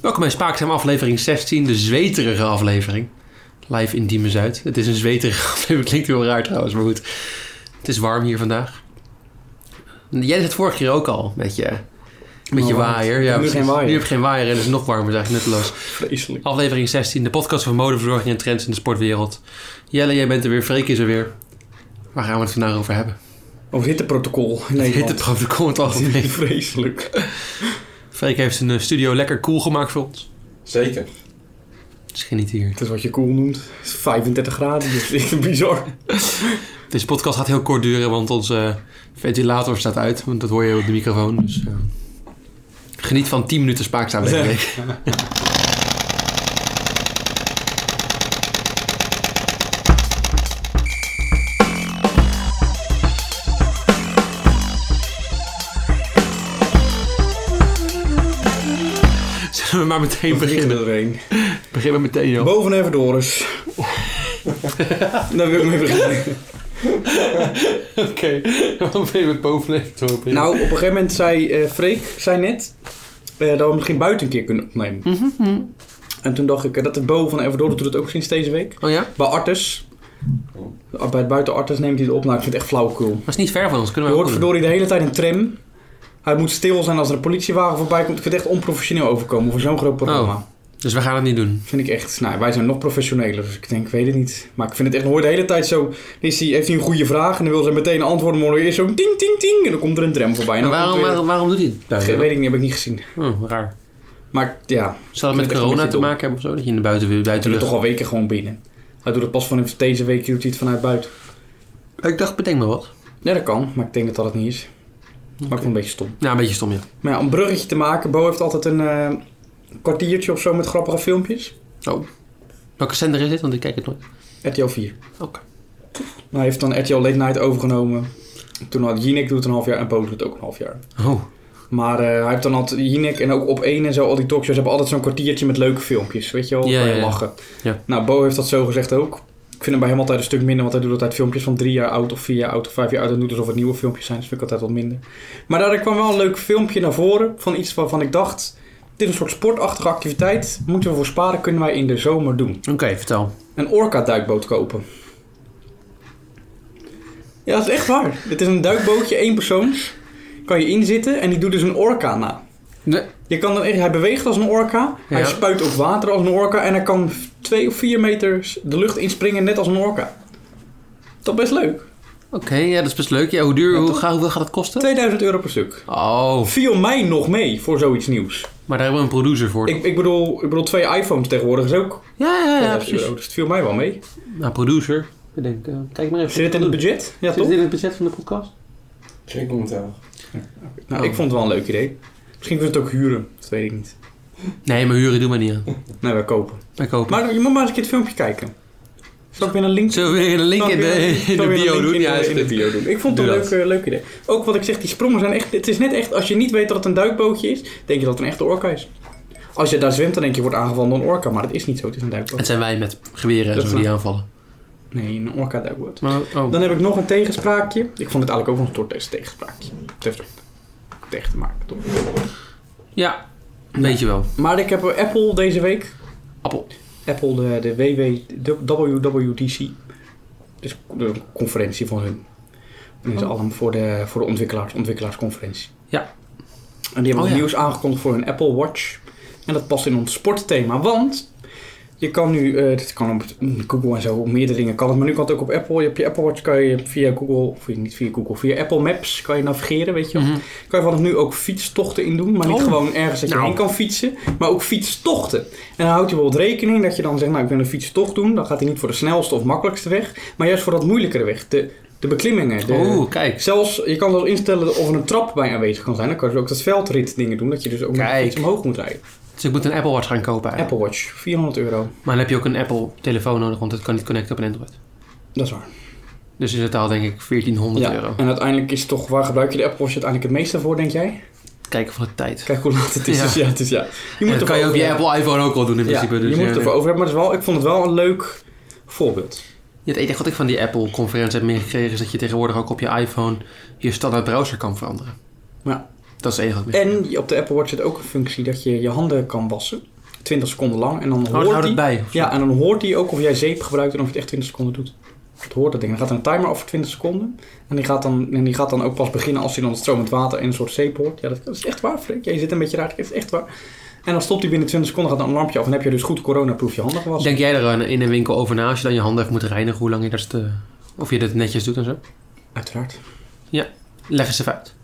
Welkom bij Spaakzaam aflevering 16, de zweterige aflevering. Live in Diemen Zuid. Het is een zweterige aflevering, klinkt heel raar trouwens, maar goed. Het is warm hier vandaag. Jij deed het vorige keer ook al, met je, met je Oh, wat? waaier. Ik heb nu precies. geen waaier. Nu heb je geen waaier en het is nog warmer, dat is eigenlijk nutteloos. Vreselijk. Aflevering 16, de podcast van modeverzorging en trends in de sportwereld. Jelle, jij bent er weer, Freek is er weer. Waar gaan we het vandaag over hebben? Over hitteprotocol in Het Nederland. hitteprotocol in het algemeen. Vreselijk. Freek heeft zijn eh, studio lekker cool gemaakt voor ons. Zeker. Misschien niet hier. Het is wat je cool noemt. Het is 35 graden, dus echt bizar. Deze podcast gaat heel kort duren, want onze eh, ventilator staat uit. Want dat hoor je op de microfoon. Dus, eh, geniet van 10 minuten spaakzaam deze Ja. week. Zullen we maar meteen beginnen? erheen. Beginnen we meteen, joh. Boven even Doris. Daar wil ik mee beginnen. Oké, waarom ben je met bovenleven te hopen? Nou, op een gegeven moment zei eh, Freek, zei net, eh, dat we misschien buiten een keer kunnen opnemen. En toen dacht ik, eh, dat de Bo van Everdorre doet het ook sinds deze week. Oh ja? Bij Artes. Bij het buiten Artes neemt hij het op. Nou, ik vind het echt flauwkul. Dat is niet ver van ons, kunnen Je we ook hoort doen. verdorie de hele tijd een tram. Hij moet stil zijn als er een politiewagen voorbij komt. Ik vind het echt onprofessioneel overkomen voor zo'n groot programma. Oh. Dus we gaan het niet doen. Vind ik echt. Nou, wij zijn nog professioneler, dus ik denk, ik weet het niet. Maar ik vind het echt, hoor de hele tijd zo. Is hij, heeft hij een goede vraag en dan wil ze meteen een antwoord. Maar dan hoor je eerst zo'n ting, ting, ting. En dan komt er een tram voorbij. En En dan waarom, komt weer- waarom, waarom doet hij het? Ge- Weet ik niet, heb ik niet gezien. Oh, raar. Maar ja, Zal het met Echt een corona te beetje maken hebben of zo? Dat je in de buiten, hij doet het buitenlucht... toch al weken gewoon binnen. Hij doet het pas vanaf deze week, doet hij het vanuit buiten. Ik dacht, bedenk maar wat. Ja, dat kan, maar ik denk dat dat het niet is. Maar ik vond het een beetje stom. Nou, een beetje stom, ja. Maar ja, om een bruggetje te maken, Bo heeft altijd een eh, kwartiertje of zo met grappige filmpjes. Oh. Welke zender is dit? Want ik kijk het nooit. RTL 4. Oké. Nou, hij heeft dan RTL Late Night overgenomen. Toen had Jinek doet een half jaar en Bo doet het ook een half jaar. Oh. Maar eh, hij heeft dan altijd Jinek en ook op één en zo, al die talkshows hebben altijd zo'n kwartiertje met leuke filmpjes. Weet je wel, Ja, waar je ja, ja. lachen. Ja. Nou, Bo heeft dat zo gezegd ook. Ik vind hem bij hem altijd een stuk minder, want hij doet altijd filmpjes van drie jaar oud of vier jaar oud of vijf jaar oud. En doet alsof het nieuwe filmpjes zijn, dus vind ik altijd wat minder. Maar daar kwam wel een leuk filmpje naar voren van iets waarvan ik dacht... Dit is een soort sportachtige activiteit. Moeten we voor sparen, kunnen wij in de zomer doen Oké, vertel. een orka-duikboot kopen. Ja, dat is echt waar. Het is een duikbootje, één persoons. Kan je inzitten en die doet dus een orka na. Nee. Je kan dan echt, hij beweegt als een orka, hij Ja. spuit ook water als een orka en hij kan twee of vier meter de lucht inspringen net als een orka. Dat is best leuk. Oké, ja, dat is best leuk. Ja, hoe duur, Ja, hoe, toch? ga, hoeveel gaat het kosten? 2000 euro per stuk. Oh. Viel mij nog mee voor zoiets nieuws. Maar daar hebben we een producer voor. Ik, ik, bedoel, ik bedoel, twee iPhones tegenwoordig is ook Ja, ja, ja, 2000 precies. euro. Dus het viel mij wel mee. Nou, producer. Ik denk, eh, kijk maar even. Zit het in het budget? Ja, Zit het toch? in het budget van de podcast? Geen commentaar. Nou, Oh. ik vond het wel een leuk idee. Misschien kunnen we het ook huren. Dat weet ik niet. Nee, maar huren doen we niet aan. Nee, wij kopen. Wij kopen. Maar je moet maar eens een keer het filmpje kijken. Zal ik weer een link... Zullen we weer een link zal ik in weer een- de, in zal de ik weer een bio link doen? in Ja, de- is in de goed. bio doen. Ik vond het Doe een dat. leuk, eh, leuk idee. Ook wat ik zeg, die sprongen zijn echt... Het is net echt... Als je niet weet dat het een duikbootje is, denk je dat het een echte orka is. Als je daar zwemt, dan denk je, je wordt aangevallen door een orka. Maar dat is niet zo. Het is een Het duikboot. zijn wij met geweren en Dat zo die aanvallen. Nee, een orka duikboot. Maar, oh. Dan heb ik nog een tegenspraakje. Ik vond het eigenlijk ook nog een soort tegen- tegenspraakje. Het heeft er tegen te maken, toch? Ja, weet je wel. Maar ik heb eh, Apple deze week. Appel. Apple, de, de WW, WWDC. Dus de conferentie van hun. En dat is allemaal voor de, voor de ontwikkelaars, ontwikkelaarsconferentie. Oh. Ja. En die hebben Oh, wat ja. nieuws aangekondigd voor hun Apple Watch. En dat past in ons sportthema, want je kan nu, eh dit kan op Google en zo, op meerdere dingen kan het, maar nu kan het ook op Apple. Je hebt je Apple Watch, kan je via Google, of niet via Google, via Apple Maps kan je navigeren, weet je wel. Mhm. Kan je vanaf nu ook fietstochten in doen, maar niet Oh. gewoon ergens dat je Nou. heen kan fietsen, maar ook fietstochten. En dan houdt hij bijvoorbeeld rekening dat je dan zegt, nou ik wil een fietstocht doen, dan gaat hij niet voor de snelste of makkelijkste weg, maar juist voor dat moeilijkere weg, de, de beklimmingen. De, Oeh, kijk. Zelfs, je kan zelfs instellen of er een trap bij aanwezig kan zijn. Dan kan je dus ook dat veldrit dingen doen, dat je dus ook nog Kijk. iets omhoog moet rijden. Dus ik moet een Apple Watch gaan kopen eigenlijk. Apple Watch, 400 euro. Maar dan heb je ook een Apple telefoon nodig, want het kan niet connecten op een Android. Dat is waar. Dus in totaal denk ik 1400 Ja. euro. En uiteindelijk is het toch, waar gebruik je de Apple Watch uiteindelijk het meeste voor, denk jij? Kijken van de tijd. Kijk hoe laat het is. Ja. Ja. Dus ja, het is ja. Je En dat er kan je ook over- je Apple iPhone ook al doen in Ja, principe. Dus je moet het ja, ervoor over hebben, maar het is wel, ik vond het wel een leuk voorbeeld. Het enige wat ik van die Apple-conferentie heb meegekregen is dat je tegenwoordig ook op je iPhone je standaard browser kan veranderen. Ja. Dat is het enige. wat ik mis. En op de Apple Watch zit ook een functie dat je je handen kan wassen. 20 seconden lang. En dan Houd, hoort houd Oh, het hij... bij. of zo. Ja, en dan hoort hij ook of jij zeep gebruikt en of je het echt 20 seconden doet. Dat hoort dat ding. Dan gaat er een timer af voor 20 seconden. En die gaat dan, en die gaat dan ook pas beginnen als hij dan het stromend water en een soort zeep hoort. Ja, dat, dat is echt waar, Freek. Ja, je zit een beetje raar. Het is echt waar. En dan stopt hij binnen 20 seconden, gaat dan een lampje af. En heb je dus goed coronaproof je handen gewassen. Denk jij er aan- in een winkel over na als je dan je handen even moet reinigen, hoe lang je dat... eh, of je dat netjes doet en zo? Uiteraard. Leg eens even uit.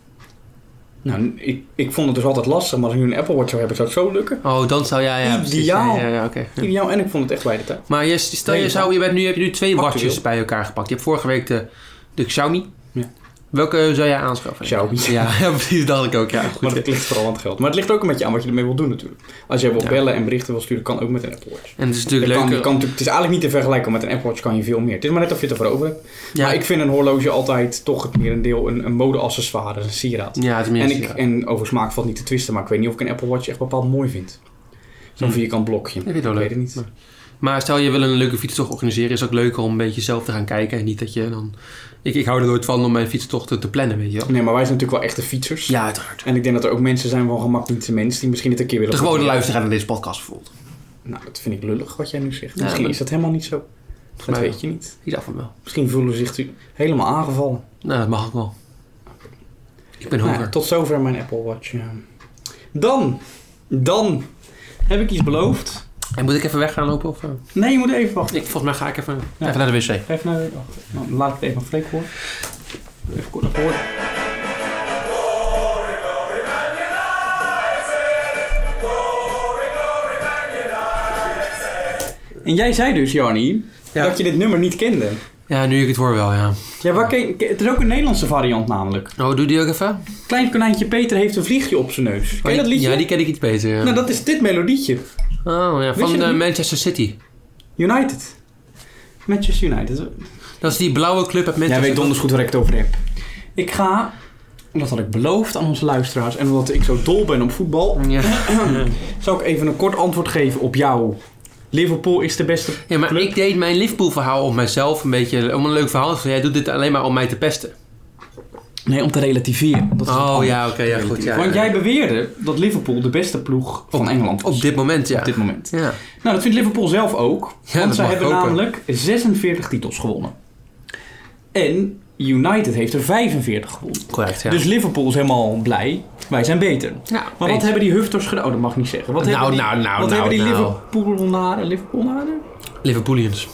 Nou, ik, ik vond het dus altijd lastig. Maar als ik nu een Apple Watch zou hebben, zou het zo lukken. Oh, dan zou jij... Ja, precies. Ideaal. Ja, ja, ja, oké. Ja. Ideaal. En ik vond het echt bij de tijd. Maar je, stel je Nee, zou, je bent nu, heb je nu twee Actueel. watches bij elkaar gepakt. Je hebt vorige week de, de Xiaomi. Ja. Welke zou jij aanschaffen? Xiaomi. Ja, ja, precies, dacht ik ook. Ja, Maar goed. het ligt vooral aan het geld. Maar het ligt ook een beetje aan wat je ermee wil doen natuurlijk. Als jij wil Ja. bellen en berichten wil sturen, kan ook met een Apple Watch. En het is Dat natuurlijk kan, leuker. kan, natuurlijk- het is eigenlijk niet te vergelijken, want met een Apple Watch kan je veel meer. Het is maar net of je het ervoor over hebt. ja, Maar ik vind een horloge altijd toch het merendeel een, een mode-accessoire, een sieraad. ja, en, tenminste. ik, ja. en over smaak valt niet te twisten, maar ik weet niet of ik een Apple Watch echt bepaald mooi vind. Zo'n Hm. vierkant blokje. vind het wel ik leuk. weet het niet. Maar stel je wil een leuke fietstocht organiseren, is het ook leuker om een beetje zelf te gaan kijken. En niet dat je dan. Ik, ik hou er nooit van om mijn fietstochten te plannen, weet je wel. Nee, maar wij zijn natuurlijk wel echte fietsers. Ja, uiteraard. En ik denk dat er ook mensen zijn van gemak niet mensen die misschien het een keer willen De gewone proberen. luisteraar naar deze podcast bijvoorbeeld. Nou, dat vind ik lullig wat jij nu zegt. Ja, misschien maar- is dat helemaal niet zo. Dat mij weet wel. je niet. Ik dacht van wel. Misschien voelen ze zich helemaal aangevallen. Nou, dat mag ook wel. Ik ben Nou ja, honger. tot zover mijn Apple Watch. ja. Dan, dan heb ik iets beloofd. en moet ik even weg gaan lopen? Of, eh? Nee, je moet even wachten. ik, volgens mij ga ik even, Ja. even naar de wc. Even naar de... oh, nou, laat ik het even aan Freek horen. Even kort naar horen. En jij zei dus, Jannie, Ja. dat je dit nummer niet kende. Ja, nu ik het hoor wel, ja. Ja, waar ken, ken- het is ook een Nederlandse variant namelijk. Oh, doe die ook even? Klein konijntje Peter heeft een vliegje op zijn neus. Ken je dat liedje? Oh, Ja, die ken ik iets beter. Ja. Nou, dat is dit melodietje. Oh ja, Wist van je dat eh, niet? Manchester City. United. Manchester United. Dat is die blauwe club uit Manchester. Jij weet donders goed waar ik het over heb. Ik ga, dat had ik beloofd aan onze luisteraars en omdat ik zo dol ben op voetbal, Ja. zou ik even een kort antwoord geven op jou. Liverpool is de beste. ja, maar Club. ik deed mijn Liverpool verhaal om mezelf een beetje... om een leuk verhaal te Jij doet dit alleen maar om mij te pesten. Nee, om te relativeren. Dat is wat Oh anders. ja, oké, ja, goed. Ja, Want ja. jij beweerde dat Liverpool de beste ploeg van Engeland was. Op dit moment, ja. Op dit moment. Ja. Nou, dat vindt Liverpool zelf ook. Ja, want dat zij mag hebben ook, hè. namelijk 46 titels gewonnen. En United heeft er 45 gewonnen. Correct, ja. Dus Liverpool is helemaal blij. Wij zijn beter. ja, Maar wat hebben die hufters gedaan? Oh, dat mag ik niet zeggen. Wat Nou, hebben die, nou, nou, wat nou, hebben die nou. Liverpoolnaren, Liverpoolnaren? Liverpoolians.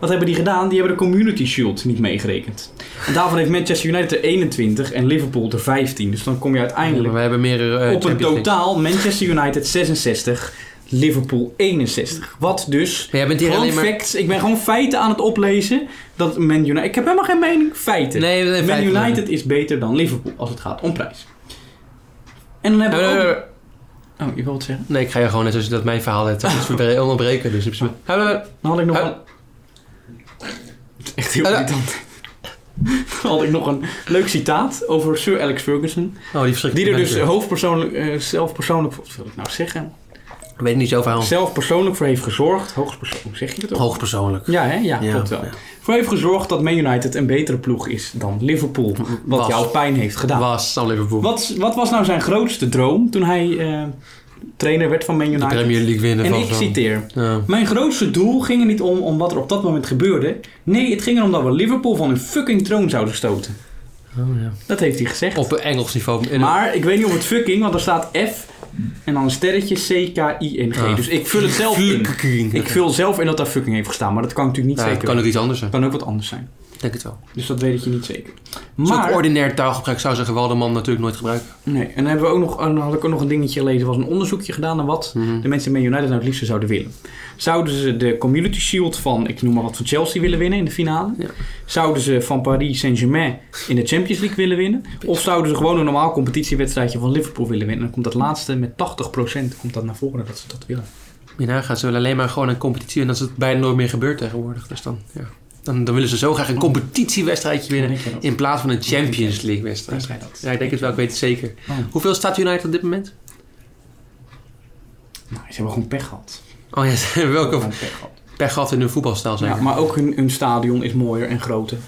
Wat hebben die gedaan? Die hebben de Community Shield niet meegerekend. En daarvan heeft Manchester United er 21 en Liverpool er 15. Dus dan kom je Ja, maar uiteindelijk we hebben meer... eh, op een Champions League. totaal Manchester United 66, Liverpool 61. Wat dus... Maar jij bent hier Gewoon alleen maar... facts. Ik ben gewoon feiten aan het oplezen. Dat Man United... Ik heb helemaal geen mening. Feiten. Nee, nee, Man feiten. United is beter dan Liverpool als het gaat om prijs. En dan Nee, hebben we nee, ook... nee, eh, Oh, je wilt het zeggen? nee, ik ga je gewoon net zoals dat mijn verhaal net is verbre- onderbreken. Dus in principe- Hallo. Dan had ik nog Eh. een... Het is Echt heel Eh, eh. irritant. Dan had ik nog een leuk citaat over Sir Alex Ferguson. Oh, die Die er verschrikkelijke dus manager. hoofdpersoonlijk, eh, zelf persoonlijk... Wat wil ik nou zeggen? Ik weet niet zoveel verhaal. Zelf persoonlijk voor heeft gezorgd. Hoogstpersoonlijk, zeg je dat ook? Hoogpersoonlijk. Ja, hè? Ja, Ja, klopt wel. ja. Voor heeft gezorgd dat Man United een betere ploeg is dan Liverpool. Wat Was. jou pijn heeft gedaan. Was Sam Liverpool. Wat, wat was nou zijn grootste droom toen hij eh, trainer werd van Man De United? Premier League winnen en van ik zo'n- citeer. Ja. Mijn grootste doel ging er niet om, om wat er op dat moment gebeurde. Nee, het ging erom dat we Liverpool van hun fucking troon zouden stoten. Oh, ja. Dat heeft hij gezegd. Op een Engels niveau. In Maar ik weet niet of het fucking, want er staat F en dan een sterretje C-K-I-N-G. Ah. Dus ik vul het zelf in. Ik vul zelf in dat daar fucking heeft gestaan, maar dat kan natuurlijk niet Ja, het zeker. kan ook iets anders Het zijn. kan ook wat anders zijn. Ik denk het wel. Dus dat weet ik je niet zeker. Zo'n Maar, ordinair taalgebruik zou zeggen Walderman natuurlijk nooit gebruiken. nee, en dan, hebben we ook nog, dan had ik ook nog een dingetje gelezen. Er was een onderzoekje gedaan naar wat de mensen in Man United nou het liefste zouden willen. Zouden ze de Community Shield van, ik noem maar wat, van Chelsea willen winnen in de finale? Ja. Zouden ze van Paris Saint-Germain in de Champions League willen winnen? Of zouden ze gewoon een normaal competitiewedstrijdje van Liverpool willen winnen? Dan komt dat laatste met 80% komt dat naar voren dat ze dat willen. Hierna gaan ze wel alleen maar gewoon een competitie en dat is het bijna nooit meer gebeurd tegenwoordig. Dus dan, ja. dan, dan willen ze zo graag Oh. een competitiewedstrijdje winnen Denk je dat? in plaats van een Champions League Denk wedstrijd. jij dat? Ja, ik denk het wel. Ik weet het zeker. Oh. Hoeveel staat United op dit moment? Nou, ze hebben gewoon pech gehad. Oh ja, ze hebben Ze hebben welke gewoon pech gehad. pech gehad in hun voetbalstijl Ja, zeker. maar ook hun, hun stadion is mooier en groter.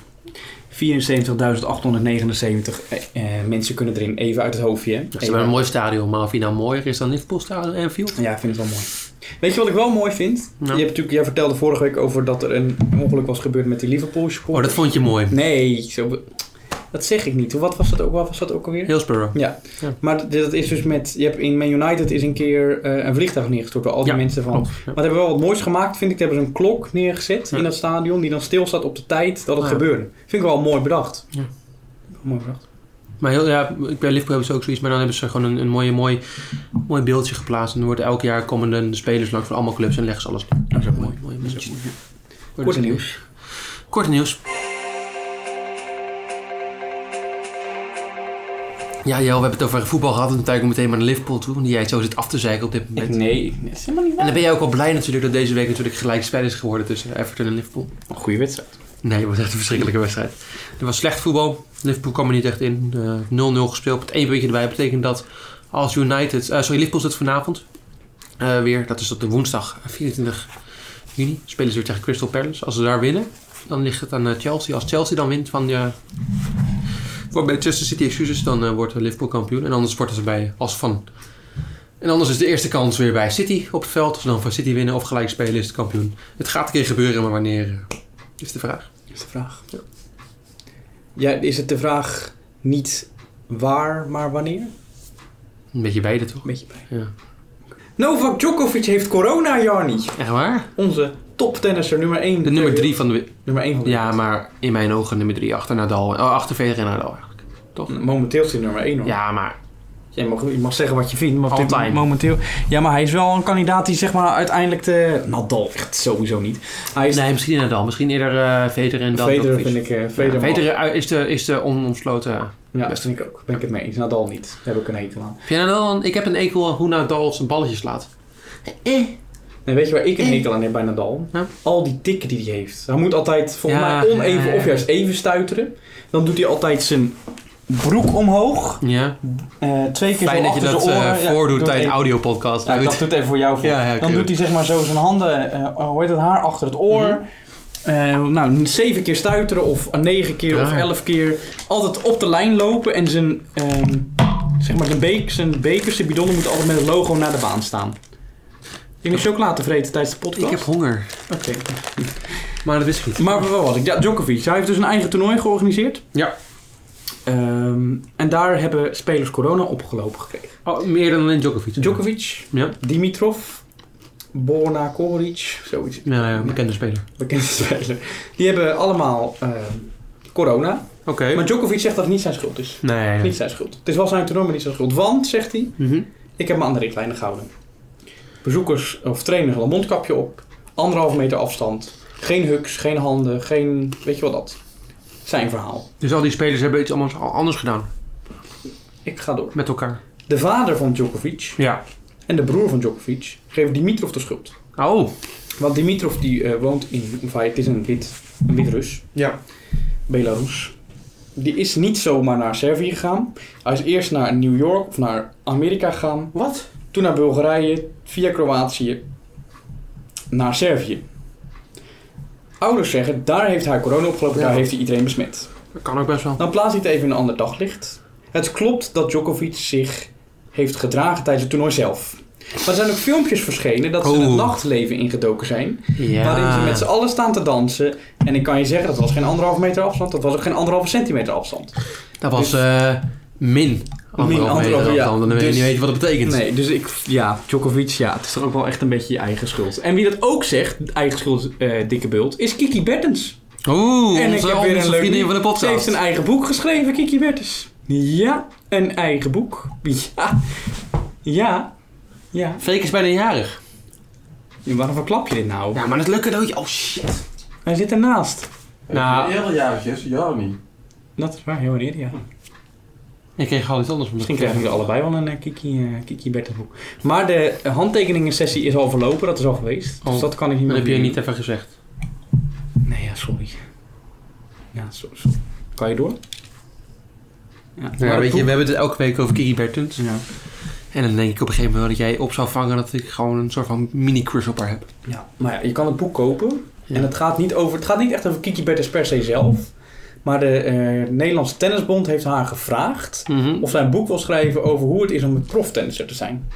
74.879 eh, eh, mensen kunnen erin. Even uit het hoofdje. hè. Dat is wel Even- een mooi stadion, maar of hij nou mooier is dan Liverpool Stadion en Field. Ja, ik vind het wel mooi. Weet je wat ik wel mooi vind? Nou. Je hebt natuurlijk, jij vertelde vorige week over dat er een ongeluk was gebeurd met die Liverpool Oh, supporter. dat vond je mooi. Nee, zo... dat zeg ik niet. Hoe- Wat was dat ook, wat was dat ook alweer? Hillsborough. Ja. Ja. maar d- dat is dus met... Je hebt in Man United is een keer eh, een vliegtuig neergestort door al die Ja, mensen van... Klopt. Maar daar hebben we wel wat moois gemaakt, vind ik. Daar hebben ze een klok neergezet Ja. in dat stadion die dan stilstaat op de tijd dat het Ja. gebeurde. Vind ik wel mooi bedacht. Ja. Mooi bedacht. Maar heel, ja, bij Liverpool hebben ze ook zoiets, maar dan hebben ze gewoon een, een mooi, mooi, mooi beeldje geplaatst. En er wordt elk jaar komen de spelers langs van allemaal clubs en leggen ze alles neer. Dat is ook mooi. mooi, Dat is mooi. ook mooi. Korte nieuws. Korte nieuws. Ja, Jel, we hebben het over voetbal gehad en dan tuiken we meteen maar naar Liverpool toe. Want jij zo zit af te zeiken op dit moment. Nee, dat is helemaal niet En waar. dan ben jij ook wel blij natuurlijk dat deze week natuurlijk gelijk spel is geworden tussen Everton en Liverpool. Een goede wedstrijd. Nee, het was echt een verschrikkelijke wedstrijd. Er was slecht voetbal. Liverpool kwam er niet echt in. Eh, 0-0 gespeeld. Het één puntje erbij betekent dat als United... eh, sorry, Liverpool zit vanavond eh, weer. Dat is op de woensdag 24 juni. Spelen ze weer tegen Crystal Palace. Als ze daar winnen, dan ligt het aan eh, Chelsea. Als Chelsea dan wint van... eh voor Manchester City excuses, dan eh, wordt Liverpool kampioen. En anders wordt ze bij als van... En anders is de eerste kans weer bij City op het veld. Als ze dan van City winnen of gelijk spelen, is het kampioen. Het gaat een keer gebeuren, maar wanneer eh, is de vraag. Is de vraag. Ja. Ja, is het de vraag niet waar, maar wanneer? Een Een beetje beide toch? beetje bij. Ja. Novak Djokovic heeft corona, Jarni. Echt waar? Onze toptennisser nummer 1. De nummer drie van de... wi- Nummer 1 van de Ja, maar in mijn ogen nummer drie achter Nadal. Oh, achter Federer en Nadal eigenlijk. Toch? Momenteel is hij nummer 1 hoor. Ja, maar... Jij mag, je mag zeggen wat je vindt, maar op dit Altijd. momenteel... Ja, maar hij is wel een kandidaat die zeg maar uiteindelijk de... Nou, Nadal echt sowieso niet. Hij is... Nee, misschien Nadal. Misschien eerder eh Federer en dan... Federer Djokovic. vind ik... eh Ja, Federer mag. Federer eh, is de, is de onomsloten... Ja, dat vind ik ook. Ben ik het mee eens. Nadal niet. Daar heb ik een hekel aan. Vind jij Nadal een... Ik heb een ekel aan hoe Nadal zijn balletjes slaat. Eh. Nee, weet je waar ik een hekel aan heb bij Nadal? Nou? Al die tikken die hij heeft. Hij moet altijd volgens Ja, mij oneven ja, ja. of juist even stuiteren. Dan doet hij altijd zijn broek omhoog. Ja. Eh, twee keer Fijn zo dat je achter dat zijn eh, oren. Ja, voordoet doe het tijdens even. audiopodcast. Ja, ik dacht, doe het even voor jou. Voor. Ja, ja, oké, dan doet hij zeg maar zo zijn handen, eh, hoe heet het, haar achter het oor. Mhm. Eh, nou, zeven keer stuiteren of negen keer of Raar. elf keer. Altijd op de lijn lopen en zijn, ehm, zeg maar, zijn, beek, zijn bekers, zijn bidonnen moeten altijd met het logo naar de baan staan. Je moet chocola te vreten tijdens de podcast? Ik heb honger. Oké. Maar dat wist ik niet. Maar waar was ik? Ja, Djokovic. Hij heeft dus een eigen toernooi georganiseerd. Ja. Ehm, en daar hebben spelers corona opgelopen gekregen. Oh, meer dan alleen Djokovic. Djokovic, Ja. Dimitrov, Borna Koric, zoiets. Ja, ja, bekende speler. bekende speler. Die hebben allemaal ehm, corona. Oké. Maar Djokovic zegt dat het niet zijn schuld is. Nee. Niet zijn schuld. Het is wel zijn toernooi, maar niet zijn schuld. Want, zegt hij, Mhm. ik heb me aan de richtlijnen gehouden. Bezoekers of trainers hadden een mondkapje op. Anderhalve meter afstand. Geen hugs, geen handen, geen... Weet je wat dat? Zijn verhaal. Dus al die spelers hebben iets allemaal anders gedaan Ik ga door. met elkaar. De vader van Djokovic Ja. en de broer van Djokovic geven Dimitrov de schuld. Oh. Want Dimitrov die eh, woont in... Of hij, het is een wit, een wit Rus. Ja. Belarus. Die is niet zomaar naar Servië gegaan. Hij is eerst naar New York of naar Amerika gegaan. Wat? Toen naar Bulgarije, via Kroatië, naar Servië. Ouders zeggen, daar heeft hij corona opgelopen, Ja. daar heeft hij iedereen besmet. Dat kan ook best wel. Dan plaats hij het Nou, even in een ander daglicht. Het klopt dat Djokovic zich heeft gedragen tijdens het toernooi zelf. Maar er zijn ook filmpjes verschenen dat ze in het Oh. nachtleven ingedoken zijn. Ja. Waarin ze met z'n allen staan te dansen. En ik kan je zeggen, dat was geen anderhalve meter afstand. Dat was ook geen anderhalve centimeter afstand. Dat was eh min. Anderhalf anderhalf, meter ja. afstand. Dan weet je Dus- niet weet wat dat betekent. Nee, dus ik... Ja, Djokovic, ja. Het is toch ook wel echt een beetje je eigen schuld. En wie dat ook zegt, eigen schuld, eh, dikke bult, is Kiki Bertens. Oeh, en onze, onze vriendin van de Ze heeft podcast. een eigen boek geschreven, Kiki Bertens. Ja, een eigen boek. Ja. Ja. Ja. Freek is bijna jarig. Ja, Waarom verklap je dit nou? Ja, maar dat leuke cadeautje. Oh shit. Hij zit ernaast. Nou. Nou. Eerderjaartjes, ja niet. Dat is waar, heel eerder, ja. Ik kreeg al iets anders. van dat. Misschien krijgen we allebei wel een eh, Kiki, eh, Kiki Bertensboek. Maar de eh, handtekeningensessie is al verlopen, dat is al geweest. Dus Oh, dat kan ik Dat niet meer heb je doen. niet even gezegd. Nee, ja, sorry. Ja, sorry. sorry. Kan je door? Ja, Ja, maar weet je, we boek- hebben het elke week over Kiki Bertens. Ja. En dan denk ik op een gegeven moment wel dat jij op zou vangen dat ik gewoon een soort van mini-crush op haar heb. ja, maar ja, je kan het boek kopen. Ja. En het gaat, niet over, het gaat niet echt over Kiki Bertens per se zelf. Maar de eh, Nederlandse Tennisbond heeft haar gevraagd Mhm. of zij een boek wil schrijven over hoe het is om een proftennisser te zijn.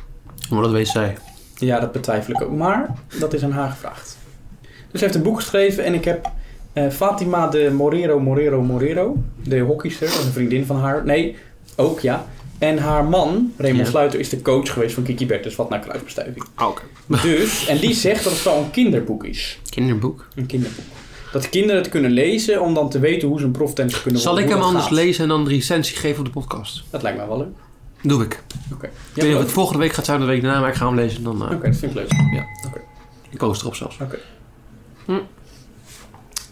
Maar dat weet zij. Ja, dat betwijfel ik ook. Maar dat is aan haar gevraagd. Dus ze heeft een boek geschreven en ik heb eh, Fatima de Morero Morero Morero, de hockeyster, dat is een vriendin van haar. Nee, ook ja. En haar man, Raymond Ja. Sluiter, is de coach geweest van Kiki Bertens, wat naar kruisbestuiving. Oh, Oké. Dus, en die zegt dat het wel een kinderboek is. Kinderboek. Een kinderboek. Dat kinderen het kunnen lezen om dan te weten hoe ze een proftennis kunnen Zal ik worden, hem hoe dat anders gaat. lezen en dan een recensie geven op de podcast? Dat lijkt mij wel leuk. Doe ik. Oké. ik weet niet of het volgende week gaat zijn of de week daarna, maar ik ga hem lezen en dan eh Oké, dat vind ik leuk. ik post erop zelfs. Oké. Hm.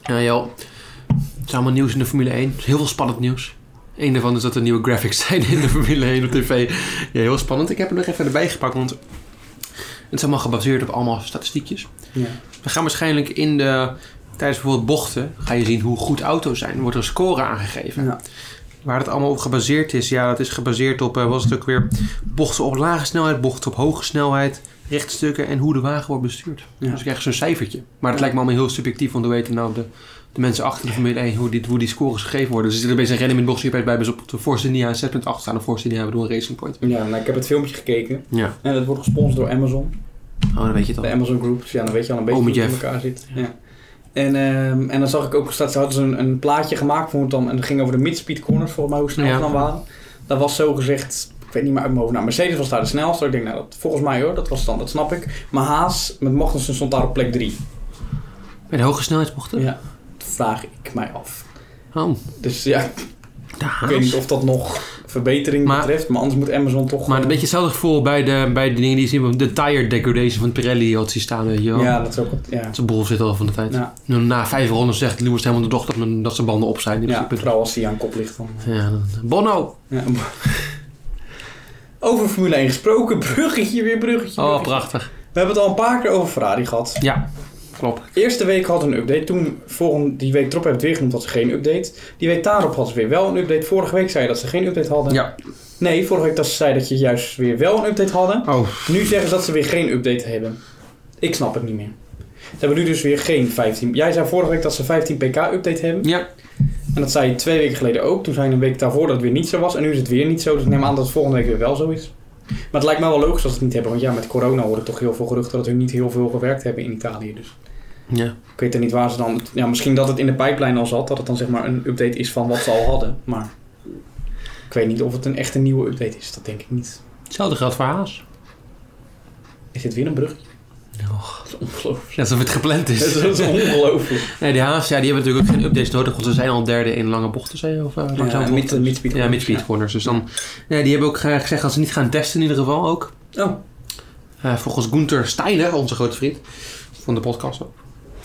Ja, joh. Het is allemaal nieuws in de Formule 1. Het is Heel veel spannend nieuws. Eén daarvan is dat er nieuwe graphics zijn in de Formule 1 op tv. Ja, heel spannend. Ik heb hem nog even erbij gepakt, want het is allemaal gebaseerd op allemaal statistiekjes. Ja. We gaan waarschijnlijk in de... Tijdens bijvoorbeeld bochten ga je zien hoe goed auto's zijn. Er wordt een score aangegeven. Ja. Waar het allemaal op gebaseerd is. Ja, dat is gebaseerd op, eh, was het ook weer, bochten op lage snelheid, bochten op hoge snelheid, rechtstukken en hoe de wagen wordt bestuurd. Ja. Dus ik krijg zo'n cijfertje. Maar het lijkt me allemaal heel subjectief, want hoe weten nou de, de mensen achter de Formule 1 hoe die, hoe die scores gegeven worden. Dus er zitten opeens een rennen in bocht, bij hebben ze op de Force India 6.8 staan, de Force India bedoel een Racing Point. Ja, nou, ik heb het filmpje gekeken Ja, en het wordt gesponsord door Amazon. oh, dan weet je het De al. Amazon Group, dus ja, dan weet je al een beetje Oh, met hoe het in Jeff. elkaar zit. Ja. En, ehm, en dan zag ik ook, staat, ze hadden ze een, een plaatje gemaakt voor het dan, en dat ging over de midspeed corners, volgens mij hoe snel Ja. ze dan waren. Dat was zo gezegd, ik weet niet meer uit mijn hoofd, nou, Mercedes was daar de snelste. Ik denk, nou, dat, volgens mij hoor, dat was dan, dat snap ik. Maar Haas met Magnussen stond daar op plek 3. Bij de hoge snelheidsbochten? Ja, dat vraag ik mij af. Oh, Dus ja, de ik weet haas. niet of dat nog verbetering Maar- betreft, maar anders moet Amazon toch... Maar gewoon- een beetje hetzelfde gevoel bij de, bij de dingen die je zien. De tire degradation van Pirelli had zien staan, weet je wel. Ja, dat is ook wat, ja. Dat is een bullshit al van de tijd. Ja, Nou, Na vijf ronden zegt Lewis helemaal de dochter dat, dat zijn banden op zijn. In ja, principe. vooral als hij aan kop ligt dan. Ja, dan- Bono! Ja. Over Formule 1 gesproken, bruggetje weer, bruggetje. Oh, bruggetje. prachtig. We hebben het al een paar keer over Ferrari gehad. Ja, klopt. Eerste week had een update, toen volgende, die week erop heb ik het weer genoemd dat ze geen update. Die week daarop had ze weer wel een update. Vorige week zei je dat ze geen update hadden. Ja. Nee, vorige week dat ze zei dat je juist weer wel een update hadden. Oh, Nu zeggen ze dat ze weer geen update hebben. Ik snap het niet meer. Ze hebben nu dus weer geen 15. Jij zei vorige week dat ze 15 pk update hebben. ja. En dat zei je twee weken geleden ook. Toen zei je een week daarvoor dat het weer niet zo was. En nu is het weer niet zo. Dus ik neem aan dat het volgende week weer wel zo is. Maar het lijkt mij wel logisch als ze het niet hebben. Want ja, met corona hoor ik toch heel veel geruchten dat hun niet heel veel gewerkt hebben in Italië. Dus Ja. ik weet er niet waar ze dan... Ja, misschien dat het in de pipeline al zat. Dat het dan zeg maar een update is van wat ze al hadden. Maar ik weet niet of het een echte nieuwe update is. Dat denk ik niet. Hetzelfde geldt voor Haas. Is dit weer een brug? Och, Dat is ongelooflijk. net alsof het gepland Dat is. is ongelooflijk. nee, die Haas ja, die hebben natuurlijk ook geen updates nodig, want ze zijn al derde in lange bochten, zei je? Of, eh, langzame mid- bochten? midspeed Ja, corners, mid-speed ja. corners. Dus dan, nee, die hebben ook eh, gezegd dat ze niet gaan testen in ieder geval ook. Oh, Eh, volgens Gunther Steiner, onze grote vriend van de podcast ook.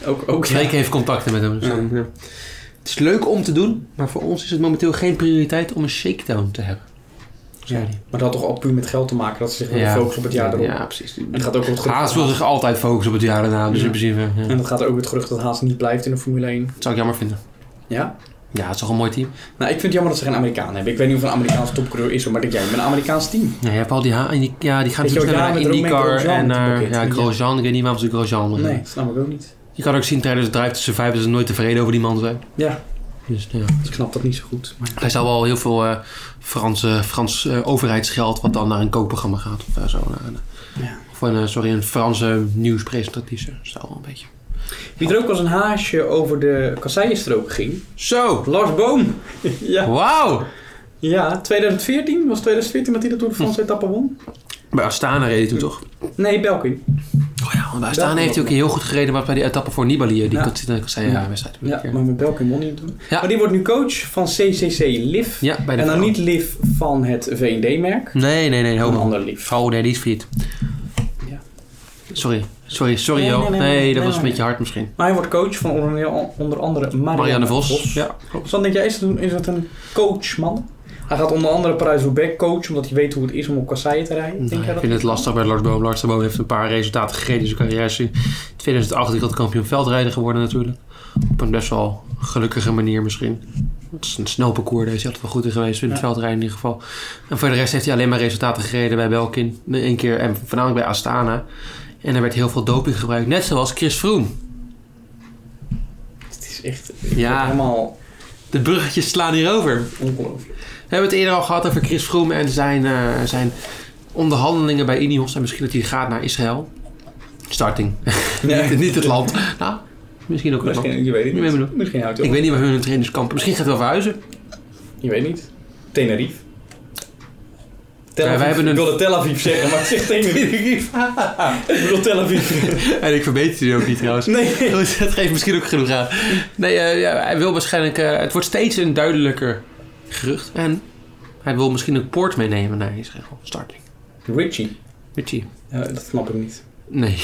Oh, ook, ook ja. Freek heeft contacten met hem. dus dan, ja. Het is leuk om te doen, maar voor ons is het momenteel geen prioriteit om een shakedown te hebben. Ja, Zei hij. Maar dat had toch al puur met geld te maken. Dat ze zich willen focussen op het jaar erop. Ja, precies. En gaat ook op het gerucht Haas wil zich altijd focussen op het jaar daarna, dus Ja. in principe. Ja. En dat gaat ook het gerucht dat Haas niet blijft in de Formule 1. Dat zou ik jammer vinden. Ja? Ja, het is toch een mooi team. Nou, ik vind het jammer dat ze geen Amerikaan hebben. Ik weet niet of een Amerikaans topcoureur is, hoor, maar dat jij met een Amerikaans team. Ja, je hebt al die, ha en die, ja, die gaan Weet je natuurlijk ook, snel naar ja, met Romain IndyCar Grosjean en naar te ja, pakketten. Grosjean. Ik weet niet waarom ze Grosjean noemen. Nee, snap ik ook niet. Je kan ook zien tijdens het drive tussen vijf dat ze nooit tevreden over die man zijn. Ja. Dus ja. Ik snap dat niet zo goed. Maar... Hij zal wel heel veel eh, Franse, Frans eh, overheidsgeld wat dan naar een koopprogramma gaat of daar zo. Naar een, Ja. Of een, eh, sorry, een Franse nieuwspresentatrice. Dat is wel een beetje. Wie er ook als een haasje over de kasseienstrook ging. Zo! Lars Boom. ja. Wauw! ja, 2014 was 2014 dat hij de Tour de France etappe won. Bij Astana reed hij toen toch? Nee, Belkin. Oh ja, want bij Astana heeft hij ook heel goed gereden, maar bij die etappe voor Nibali, eh, die Ja. kan zitten ik zei ja, wedstrijd. Ja, maar met Belkin won hij het toen. Ja. Maar die wordt nu coach van CCC Liv. Ja, bij de En dan vrouw. niet Liv van het V&D-merk. Nee, nee, nee, Een helemaal. ander Liv. Oh nee, die is failliet. Ja. Sorry, sorry, sorry Nee, joh. nee, Nee, nee, nee, dat nee, was een nee. beetje hard misschien. Maar hij wordt coach van onder andere, onder andere Marianne, Marianne Vos. Ja. Ja, klopt. Dus dan denk jij, is dat, is dat een coachman? Hij gaat onder andere Parijs-Roubaix coachen, omdat hij weet hoe het is om op kasseien te rijden. Nou, denk jij ik dat? vind het lastig bij Lars Boom. Lars Boom heeft een paar resultaten gegeven in zijn carrière. Is in 2008 dat kampioen veldrijden geworden natuurlijk. Op een best wel gelukkige manier misschien. Het is een snel parcours, daar is hij altijd wel goed in geweest. In het Ja. veldrijden in ieder geval. En voor de rest heeft hij alleen maar resultaten gereden bij Belkin. Eén keer en voornamelijk bij Astana. En er werd heel veel doping gebruikt. Net zoals Chris Froome. Het is echt Ja. helemaal... De bruggetjes slaan hierover. Ongelooflijk. We hebben het eerder al gehad over Chris Froome en zijn, eh, zijn onderhandelingen bij Ineos. En misschien dat hij gaat naar Israël. Starting. niet, niet het land. Nou, misschien ook het land. Misschien, je weet het Ik weet het niet. niet. Misschien houdt hij Ik op. weet niet waar hun trainingskamp... Misschien gaat hij wel verhuizen. Je weet niet. Tenerife. Ja, wij hebben een- Ik wilde Tel Aviv zeggen, maar ik zeg Tenerife. ik bedoel Tel Aviv. En ik verbeter die ook niet trouwens. Nee. Dus Dat geeft misschien ook genoeg aan. Nee, eh, ja, hij wil waarschijnlijk... eh, het wordt steeds een duidelijker gerucht. En hij wil misschien een poort meenemen naar Israël. Starting. Richie. Weet je? Ja, dat snap ik niet. Nee.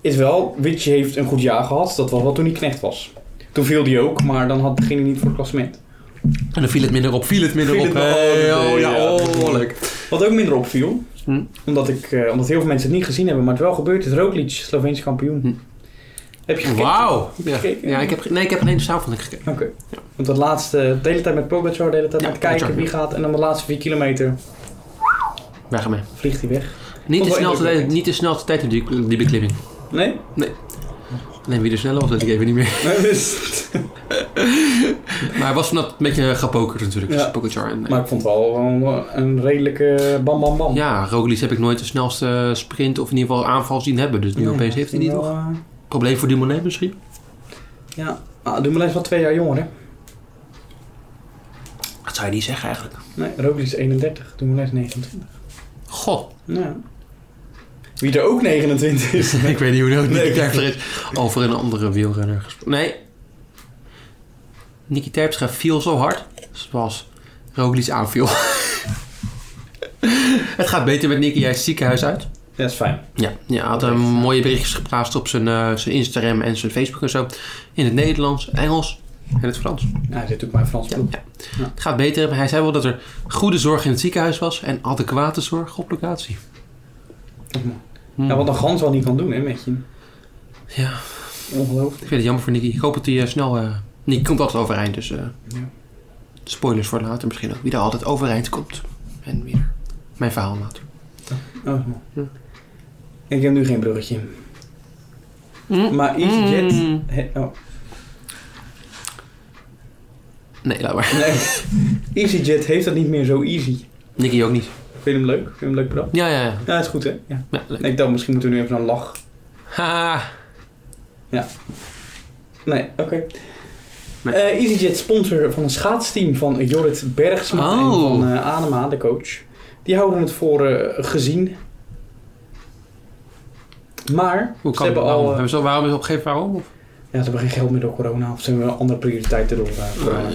Is wel, Richie heeft een goed jaar gehad. Dat was wel toen hij knecht was. Toen viel die ook, maar dan had, ging hij niet voor het klassement. En dan viel het minder op. Viel het minder Viel op. het nog- Hey, oh, oh, nee, ja, ja, dat is oh, moeilijk. leuk. Wat ook minder opviel, Hm. omdat, ik, eh, omdat heel veel mensen het niet gezien hebben, maar het wel gebeurd is, Roglic, Sloveens kampioen. Hm. Heb je gekeken? Wauw. Ja. gekeken? Ja, ik heb, ge- nee, ik heb geen samenvatting gekeken. Oké. Want dat laatste, de hele tijd met Pogacar, de hele tijd Ja, aan het kijken Pogacar, wie gaat. En dan de laatste vier kilometer Weg ermee. vliegt hij weg. Niet de, wel snelste tijd, indrukwekkend. niet de snelste tijd op die, die beklimming. Nee? Alleen wie er sneller was, weet ik even niet meer. Nee, dus- Maar hij was vanaf een beetje gepokerd natuurlijk. Ja. Ja. Pogacar en, maar ik vond het wel wel een redelijke bam bam bam. ja, Roglic heb ik nooit de snelste sprint of in ieder geval aanval zien hebben. Dus nu Nee, opeens heeft hij die wel, toch. eh, Probleem voor Dumoulin misschien? Ja. Ah, Dumoulin is wel twee jaar jonger, hè? Dat zou je niet zeggen eigenlijk. Nee, Roglic is 31, Dumoulin is 29. Goh, Ja. Wie er ook 29 is. ik weet niet hoe dat Nee. Niki Terpstra is. Over een andere wielrenner gesproken. Nee. Niki Terpstra viel zo hard zoals Roglic aanviel. Het gaat beter met Niki, hij is het ziekenhuis uit. Ja, is fijn. Ja, ja hij had een mooie berichtjes geplaatst op zijn, eh, zijn Instagram en zijn Facebook en zo. In het Nederlands, Engels en het Frans. Ja, Nou, hij zit ook bij een Frans Ja, ploeg. ja. Het gaat beter. Maar hij zei wel dat er goede zorg in het ziekenhuis was en adequate zorg op locatie. Hmm. Ja, wat een gans wel niet kan doen, hè, met je. Ja, Ongelooflijk. ik vind het jammer voor Nicky. Ik hoop dat hij eh, snel... eh Nicky komt altijd overeind, dus... eh, Ja. Spoilers voor later misschien ook. Wie er altijd overeind komt. En weer mijn verhaal later. Oh. Ja. Ik heb nu geen bruggetje. Hmm. Maar EasyJet... Mm. He- oh, Nee, laat maar. nee. EasyJet heeft dat niet meer zo easy. Nicky ook niet. Vind je hem leuk? Vind je hem leuk bedacht? Ja, ja, ja. Ja, is goed, hè? Ja. ja leuk. Ik dacht, misschien moeten we nu even een lach... Ha. Nee, oké. Nee. Eh, EasyJet sponsor van een schaatsteam van Jorrit Bergsma en Oh. van eh, Adema, de coach. Die houden het voor eh, gezien. Maar Hoe ze kan hebben dat nou? al... eh, Hebben ze al waarom is op een gegeven moment waarom? Of? Ja, ze hebben geen geld meer door corona. Of ze hebben wel andere prioriteiten door eh, corona.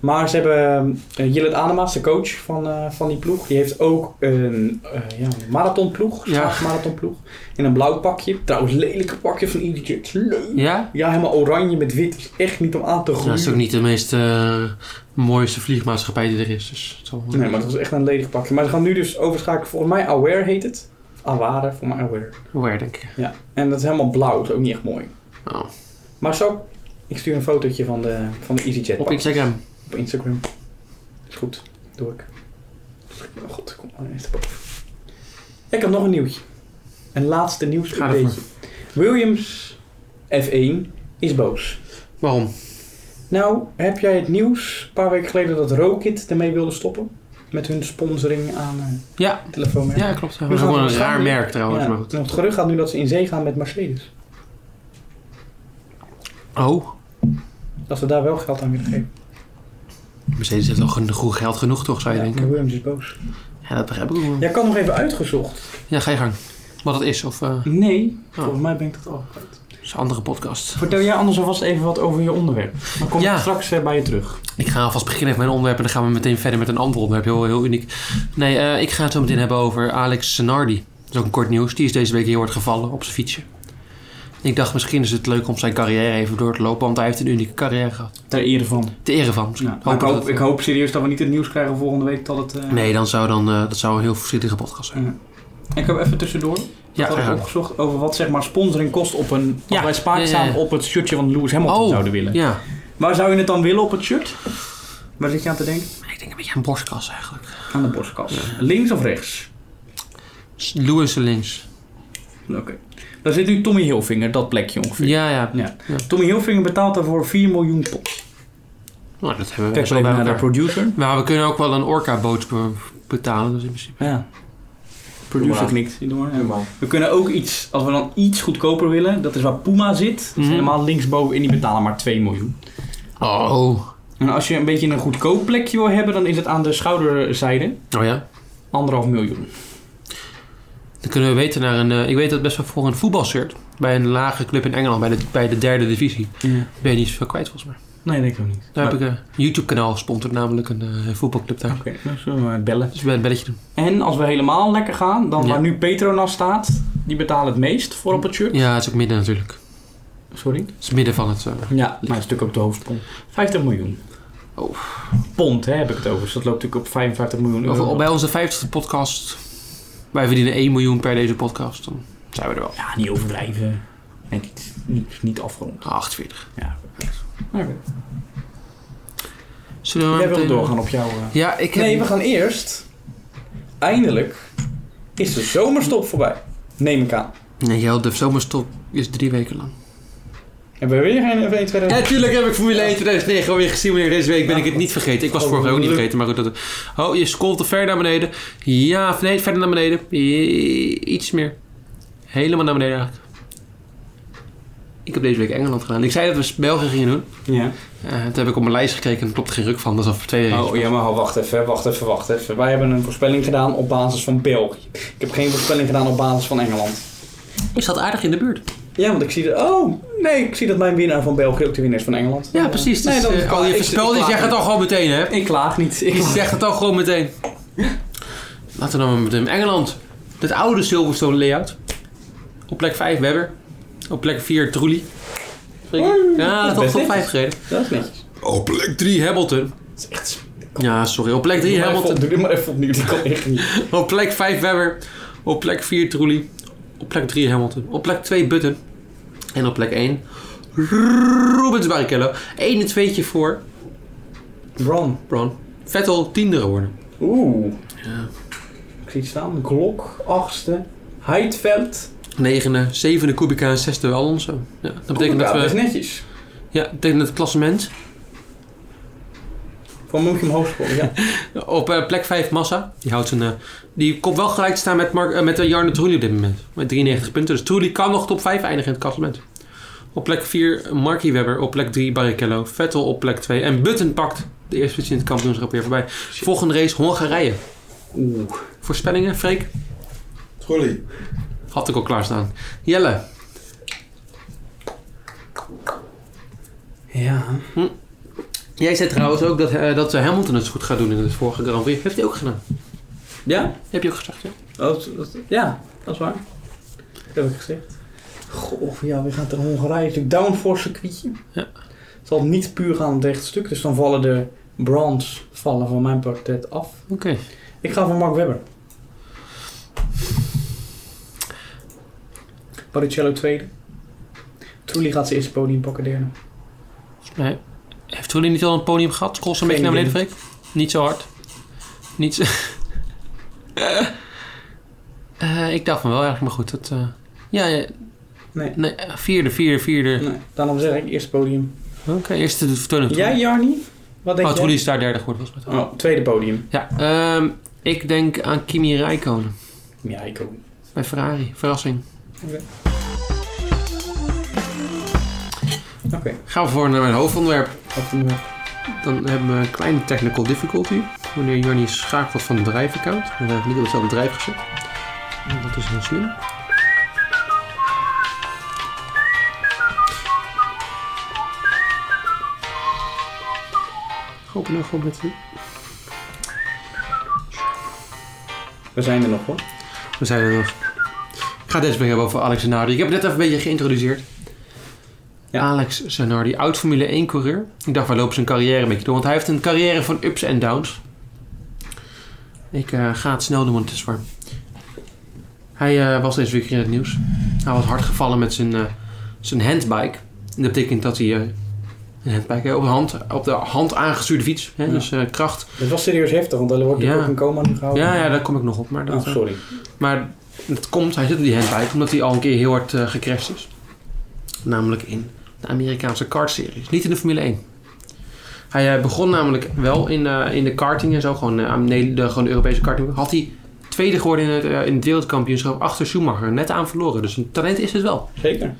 Maar ze hebben eh Jillet Adema's, de coach van, eh, van die ploeg. Die heeft ook een eh ja, een marathonploeg. Ja. Ja. marathonploeg. In een blauw pakje. Trouwens, lelijke pakje van EasyJet. Leuk. Ja? Ja, helemaal oranje met wit. Is echt niet om aan te Nou, groeien. dat is ook niet de meest eh, mooiste vliegmaatschappij die er is. Dus het zal wel- Nee, maar het was echt een ledig pakje. Maar ze gaan nu dus overschakelen. Volgens mij Aware heet het. Aware, voor mij Aware. Waar, denk ik. Ja. En dat is helemaal blauw. Dat is ook niet echt mooi. Oh. Maar zo, ik stuur een fotootje van de, van de EasyJet Op pak. Instagram. op Instagram. Is goed, doe ik. Oh god, kom maar eerst boven. Ik heb nog een nieuwtje. Een laatste nieuws Ga ervoor. Williams F1 is boos. Waarom? Nou, heb jij het nieuws een paar weken geleden dat Rocket ermee wilde stoppen? Met hun sponsoring aan eh Ja, telefoonmerk. ja klopt. Dat We is gaan gewoon een het raar gaan doen. merk trouwens. Ja, Maar goed. en het gerucht gaat nu dat ze in zee gaan met Mercedes. Oh, Dat ze daar wel geld aan willen geven. Mercedes heeft al genoeg geld genoeg toch, zou je Ja, denken? maar Williams is boos. Ja, dat begrijp ik ook wel. Ja. Jij kan nog even uitgezocht. ga je gang. Wat dat is, of eh, Nee, volgens mij ben ik dat al kwijt. dat is een andere podcast. Vertel jij anders alvast even wat over je onderwerp. Dan kom Ja. ik straks eh, bij je terug. Ik ga alvast beginnen met mijn onderwerp en dan gaan we meteen verder met een ander onderwerp. Heel, heel uniek. Nee, eh, ik ga het zo meteen hebben over Alex Senardi. Dat is ook een kort nieuws. Die is deze week heel hard gevallen op zijn fietsje. Ik dacht misschien is het leuk om zijn carrière even door te lopen, want hij heeft een unieke carrière gehad. Ter ere van. Te ere van. misschien. ik, Hopen hoop, dat het- ik hoop serieus dat we niet het nieuws krijgen volgende week dat het... eh, Nee, dan zou dan, eh, dat zou een heel voorzichtige podcast zijn. Ik heb even tussendoor. Ja, dat had ik graag. opgezocht over wat zeg maar sponsoring kost op een... Ja. Als wij spaak Ja, ja, staan ja. op het shirtje van Lewis Hamilton Oh. zouden willen. Ja, Waar zou je het dan willen op het shirt? Waar zit je aan te denken? ik denk een beetje een borstkas eigenlijk. Aan de borstkas. Links of rechts? Lewis links. Oké. Daar zit nu Tommy Hilfinger, dat plekje ongeveer. Ja, ja. Tommy Hilfinger betaalt daarvoor 4 miljoen pond. Oké. Nou, dat hebben we Kijk best wel maar bij even naar de elkaar. producer. Maar we kunnen ook wel een orca-boot be- betalen, dus in principe. Ja. Doe Producer maar. knikt. Doe maar, ja. Helemaal. We kunnen ook iets, als we dan iets goedkoper willen, dat is waar Puma zit. Dat is Mhm. Dus helemaal linksboven en die betalen maar 2 miljoen. Oh. En als je een beetje een goedkoop plekje wil hebben, dan is het aan de schouderzijde Oh ja. anderhalf miljoen. Dan kunnen we weten naar een... eh, ik weet dat best wel voor een voetbalshirt. Bij een lage club in Engeland, bij de, bij de derde divisie. Ben je niet zoveel kwijt volgens mij. Nee, denk ik ook niet. Daar Maar- heb ik een YouTube-kanaal sponsort, namelijk een eh, voetbalclub daar. Oké, dan zullen we maar bellen. Dus we een belletje doen. En als we helemaal lekker gaan, dan Ja. waar nu Petronas staat, die betalen het meest voor op het shirt. Ja, het is ook midden natuurlijk. Sorry. Het is midden van het... eh, Ja, maar het is natuurlijk ook de hoofdpond. 50 miljoen. Oh. Pond, hè, heb ik het over. Dus dat loopt natuurlijk op 55 miljoen Of- euro. Bij onze 50ste podcast. Wij verdienen 1 miljoen per deze podcast. Dan zijn we er wel. Ja, niet overdrijven. En niet, niet, niet afgerond. Ah, 48. Ja. Maar Nou, we- Zullen we Jij maar wilde meteen- doorgaan op jouw... eh, Ja, ik heb... Nee, we gaan eerst. Eindelijk is de zomerstop voorbij. Neem ik aan. Nee, Jel, de zomerstop is drie weken lang. Hebben we weer geen F1 Ja, 2000? natuurlijk heb ik Formule 1 2009 alweer gezien, meneer. Deze week ben ik het niet vergeten. Ik Oh, was vorige week ook niet vergeten, maar goed. Dat... Oh, je scrolt te ver naar beneden. Ja, of nee, verder naar beneden. I- Iets meer. Helemaal naar beneden eigenlijk. Ik heb deze week Engeland gedaan. Ik zei dat we België gingen doen. Ja. Eh dat heb ik op mijn lijst gekeken en er klopt geen ruk van. Dat is al voor twee weken. Oh ja, maar wacht even, wacht even, wacht even. Wij hebben een voorspelling gedaan op basis van België. Ik heb geen voorspelling gedaan op basis van Engeland. Ik zat aardig in de buurt. Ja, want ik zie dat. Oh, nee, ik zie dat mijn winnaar van België ook de winnaar is van Engeland. Ja, precies. Dus, Nee, dan- eh, al ik- je ik voorspelde, je klaag zegt het niet. al gewoon meteen, hè? Ik klaag niet. Ik Je klaag. zegt het al gewoon meteen. Laten we dan maar meteen. Engeland. Het oude Silverstone layout. Op plek 5 Webber. Op plek 4 Trulli. Ja, dat dat is best top netjes. 5 gereden. Dat is netjes. Op plek 3 Hamilton. Dat is echt. Ja, sorry. Op plek Doe 3 maar even op- Hamilton. Doe dit maar even opnieuw, dat kan echt niet. Op plek 5 Webber. Op plek 4 Trulli. Op plek 3 Hamilton. Op plek 2 Button. En op plek 1 Rubens Barrichello. 1 en 2 voor Ron. Bron. Vettel tiende geworden. Oeh. Ja. Ik zie het staan. Glock, achtste. Heidveld. Negende, zevende Kubica en zesde Alonso. Ja, Oh, dat betekent dat is we... netjes. Ja, dat betekent dat het klassement... Van München omhoog schoppen, ja. Op eh, plek 5 Massa. Die houdt zijn... eh, die komt wel gelijk te staan met, Mark, eh, met eh, Jarno Trulli op dit moment. Met 93 punten. Dus Trulli kan nog top 5 eindigen in het klassement. Op plek 4 Marky Webber. Op plek 3 Barrichello. Vettel op plek 2. En Button pakt de eerste positie in het kampioenschap weer voorbij. Volgende race Hongarije. Oeh. Voorspellingen, Freek? Trulli. Had ik al klaarstaan. Jelle. Ja. Jij zei trouwens ook dat, eh, dat eh, Hamilton het goed gaat doen in het vorige Grand Prix. Heeft hij ook gedaan. Ja? Heb je ook gezegd, ja? Oh, Dat, dat- ja, dat is waar. Dat heb ik gezegd. Goh, ja, we gaan ter Hongarije. Het is natuurlijk downforce circuitje. Ja. Het zal niet puur gaan om het rechte stuk, dus dan vallen de bronze vallen van mijn portret af. Oké. Ik ga voor Mark Webber. Baricello tweede. Trulli gaat zijn eerste podium pakken derde. Nee. Heeft Trulli niet al een podium gehad? Scroll ze een beetje Geen naar beneden, Freek. Niet zo hard. Niet zo... Eh, ik dacht van wel eigenlijk, maar goed. Dat, eh, ja, ja, Nee. nee, eh, vierde, vierde, vierde. Nee, daarom zeg ik eerste podium. Oké, eerste de vertoning. Jij, Jarni? Wat denk Oh, Trulli jij? is daar derde geworden, volgens mij. Oh, tweede podium. Ja, ehm, ik denk aan Kimi Räikkönen Ja, ik ook. bij Ferrari. Verrassing. Oké. Gaan we voor naar mijn hoofdonderwerp. Wat doen we? Dan hebben we een kleine technical difficulty. Wanneer Johnny schakelt van het bedrijfaccount. We hebben niet op hetzelfde bedrijf gezet. En Dat is heel slim. Open nou gewoon met We zijn er nog hoor. We zijn er nog. Ik ga deze brengen over Alex Zanardi. Ik heb het net even een beetje geïntroduceerd. Ja. Alex Zanardi, oud Formule 1 coureur. Ik dacht, wij lopen zijn carrière een beetje door. Want hij heeft een carrière van ups en downs. Ik eh, ga het snel doen, want het is warm. Hij eh, was deze week in het nieuws. Hij was hard gevallen met zijn, eh, zijn handbike. En dat betekent dat hij... eh, een handbike, hè, op, de hand, op de hand aangestuurde fiets. Hè, Ja. Dus eh, kracht. Dit was serieus heftig, want er wordt Ja. natuurlijk ook een coma nu gehouden. Ja, ja, daar kom ik nog op. Maar dat, Oh, eh, sorry. maar het komt, hij zit op die handbike omdat hij al een keer heel hard eh gecrashed is. Namelijk in de Amerikaanse kartseries, niet in de Formule 1. Hij eh, begon namelijk wel in, eh, in de karting en zo, gewoon, eh, aan de, de- gewoon de Europese karting. Had hij tweede geworden in het, eh, in het wereldkampioenschap achter Schumacher, net aan verloren. Dus een talent is het wel. Zeker.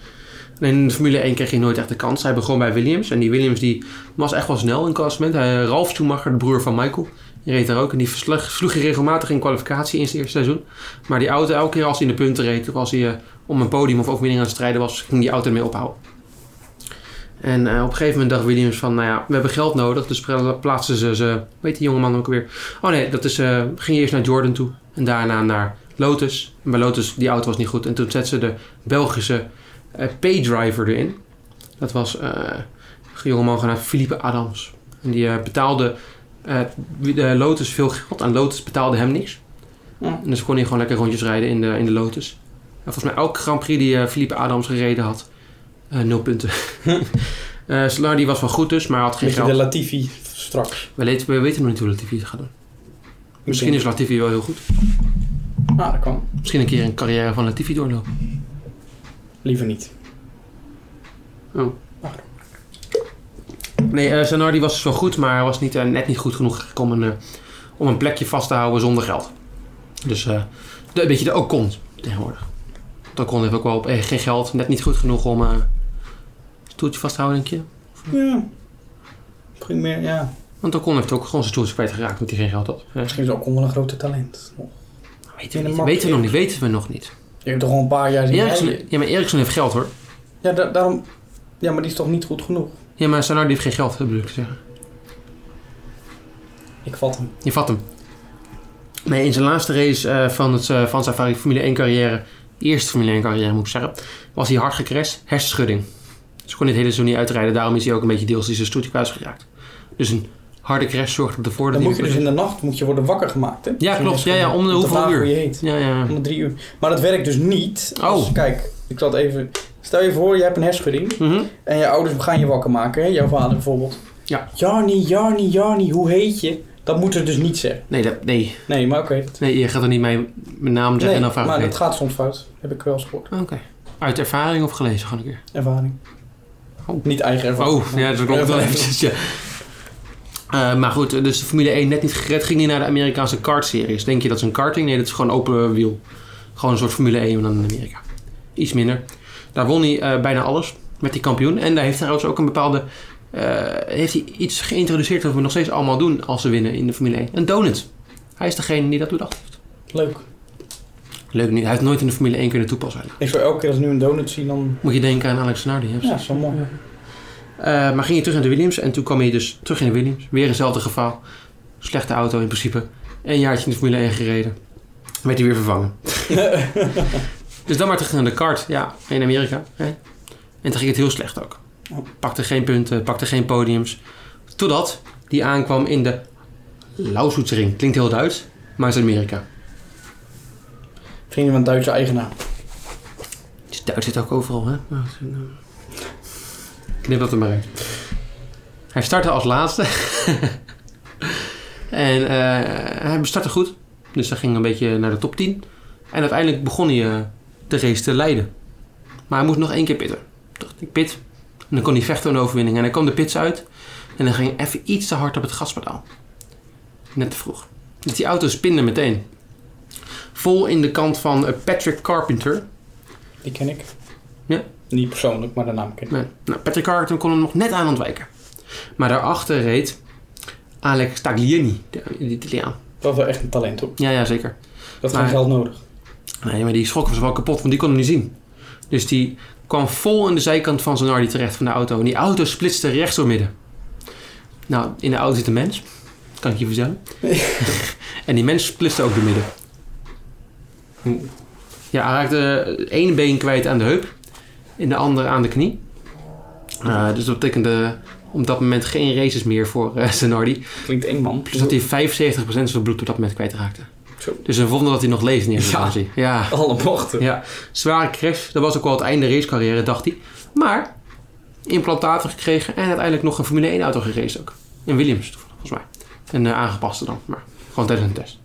En in de Formule 1 kreeg hij nooit echt de kans. Hij begon bij Williams en die Williams die was echt wel snel in het klassement. Hij, Ralf Schumacher, de broer van Michael, die reed daar ook en die versleg, sloeg hij regelmatig in kwalificatie in zijn eerste seizoen. Maar die auto, elke keer als hij in de punten reed, of als hij eh, om een podium of overwinning aan het strijden was, ging die auto ermee ophouden. En eh, op een gegeven moment dacht Williams van, nou ja, we hebben geld nodig, dus pra- plaatsen ze, ze weet die jongeman ook alweer? Oh nee, dat is, eh, ging eerst naar Jordan toe en daarna naar Lotus. En bij Lotus, die auto was niet goed. En toen zetten ze de Belgische P-driver Eh, erin. Dat was eh, een jongeman genaamd Philippe Adams. En die eh, betaalde eh, de Lotus veel geld en Lotus betaalde hem niks. Ja. En dus kon hij gewoon lekker rondjes rijden in de, in de Lotus. En volgens mij elke Grand Prix die eh, Philippe Adams gereden had, eh, nul punten. Eh Solar die was wel goed dus, maar had geen Beetje de geld. Latifi straks. We, weten- we weten nog niet hoe Latifi het gaat doen. Misschien is Latifi wel heel goed. Ah, dat kan. Misschien een keer een carrière van Latifi doorlopen. Liever niet. Nee, eh Zanardi was dus wel goed, maar hij was niet, eh, net niet goed genoeg om een, eh, om een plekje vast te houden zonder geld. Dus eh, de, een beetje de Ocon tegenwoordig. De Ocon heeft ook wel op, eh, geen geld, net niet goed genoeg om eh stoeltje vast te houden, denk je? Ja. Misschien meer, ja. Want Ocon heeft ook gewoon zijn stoeltje kwijtgeraakt omdat hij geen geld had. Ja. Misschien is ook wel een grote talent. nog. Weten, In we de niet, markt weten we nog niet, weten we nog niet. Je hebt toch al een paar jaar zien rijden? Eriksen, ja, maar Eriksen heeft geld hoor. Ja, da- daarom... Ja, maar die is toch niet goed genoeg? Ja, maar Zanardi heeft geen geld, dat bedoel ik te zeggen. Ik vat hem. Je vat hem. Nee, in zijn laatste race eh, van, het, eh, van zijn Formule 1 carrière, eerste Formule 1 carrière moet ik zeggen, was hij hard gecrashed, hersenschudding. Ze kon dit hele seizoen niet uitrijden, daarom is hij ook een beetje deels in zijn stoeltje kwijtgeraakt. Dus een harde crash zorgde ervoor dat Dan moet je hij... dus in de nacht moet je worden wakker gemaakt, hè? Ja, klopt. Ja, ja, om de Om te hoeveel vragen uur? hoe je heet. Ja, ja. Om de drie uur. Maar dat werkt dus niet. als- Oh. Kijk, ik zat even... Stel je voor, je hebt een hersenschudding. Mhm. En je ouders gaan je wakker maken, hè? Jouw vader bijvoorbeeld. Ja. Jarni, Jarni, Jarni, hoe heet je? Dat moeten ze dus niet zeggen. Nee, dat, nee. Nee, maar oké. nee, je gaat er niet mijn, mijn naam zeggen Nee, en dan vraag maar ik dat het. gaat soms fout. Heb ik wel eens gehoord. Oké. Uit ervaring of gelezen gewoon een keer? Ervaring. Oh. Niet eigen ervaring. Oh, ja, dat klopt wel eventjes, ja. Eh, maar goed, dus de Formule 1 net niet gered. Ging hij naar de Amerikaanse kartseries. Denk je dat is een karting? Nee, dat is gewoon open wiel. Gewoon een soort Formule 1, maar dan in Amerika. Iets minder. Daar won hij eh, bijna alles met die kampioen. En daar heeft hij trouwens ook een bepaalde... eh, heeft hij iets geïntroduceerd dat we nog steeds allemaal doen als ze winnen in de Formule 1. Een donut. Hij is degene die dat bedacht heeft. Leuk. Leuk niet. Hij heeft nooit in de Formule 1 kunnen toepassen. Ik zou elke keer als ik nu een donut zie, dan... Moet je denken aan Alex Nardi. hè? Ja, zo mooi. Eh, maar ging hij terug naar de Williams en toen kwam hij dus terug in de Williams. Weer eenzelfde geval. Slechte auto in principe. Een jaartje in de Formule 1 gereden. Werd hij weer vervangen. dus dan maar terug naar de kart. Ja, in Amerika. Hè? En toen ging het heel slecht ook. Pakte geen punten, pakte geen podiums. Totdat die aankwam in de Lausitzring. Klinkt heel Duits, maar is Amerika. Vrienden van een Duitse eigenaar. Het is Duits Dus zit ook overal, hè? Maar het is een, eh, Knip dat er maar uit. Hij startte als laatste. en eh, hij startte goed. Dus hij ging een beetje naar de top 10. En uiteindelijk begon hij eh, de race te leiden. Maar hij moest nog één keer pitten. Toen dacht ik, pit. En dan kon hij vechten om de overwinning. En hij kwam de pits uit. En dan ging hij even iets te hard op het gaspedaal. Net te vroeg. Dus die auto spinde meteen. Vol in de kant van eh, Patrick Carpenter. Die ken ik. Ja. Niet persoonlijk, maar de naam ken ik. Nee. Nou, Patrick Carrington kon hem nog net aan ontwijken. Maar daarachter reed Alex Tagliani, de, de Italiaan. Dat is wel echt een talent, hoor. Ja, Ah, ja, zeker. Dat is Maar- geen geld nodig. Nee, maar die schrok was wel kapot, want die kon hem niet zien. Dus die kwam vol in de zijkant van Zanardi terecht van de auto. En die auto splitste rechts door midden. Nou, in de auto zit een mens. Kan ik je vertellen. en die mens splitste ook door midden. Ja, hij raakte één been kwijt aan de heup. En de andere aan de knie. Eh, dus dat betekende op dat moment geen races meer voor eh, Zanardi. Klinkt eng, man. Dus dat hij 75% van zijn bloed op dat moment kwijtraakte. Zo. Dus een wonder dat hij nog leeft in eerste Ja. instantie. Ja. Alle bochten. Ja, zware crash. Dat was ook wel het einde racecarrière, dacht hij. Maar implantaten gekregen en uiteindelijk nog een Formule 1 auto gereden ook. Een Williams, volgens mij. Een eh, aangepaste dan, maar gewoon tijdens een test.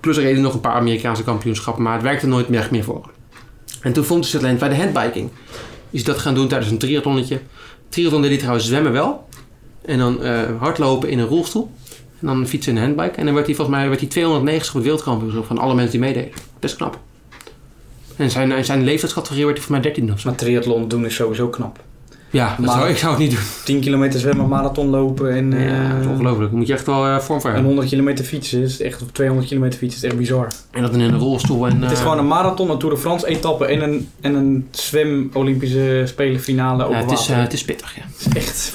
Plus er reden nog een paar Amerikaanse kampioenschappen, maar het werkte nooit meer, echt meer voor. hem. En toen vond hij zijn talent bij de handbiking. Is hij dat gaan doen tijdens een triathlonnetje. Triathlon deed hij trouwens zwemmen wel. En dan eh, hardlopen in een rolstoel. En dan fietsen in een handbike. En dan werd hij volgens mij werd hij 290 op het wereldkampioenschap van alle mensen die meededen. Best knap. En zijn, en zijn leeftijdscategorie werd hij volgens mij 13 of zo. Maar triathlon doen is sowieso knap. Ja, dat Maar- zou, ik zou het niet doen. 10 kilometer zwemmen, marathon lopen en, eh, ja, dat is ongelooflijk. Daar moet je echt wel eh, vorm voor en hebben. 100 kilometer fietsen. Is echt, of 200 kilometer fietsen is echt bizar. En dat dan in een rolstoel. En, Het is eh, gewoon een marathon, een Tour de France etappe en een, en een zwem-Olympische Spelen finale ja, over het, is, eh, water. het is pittig, ja. Het is echt...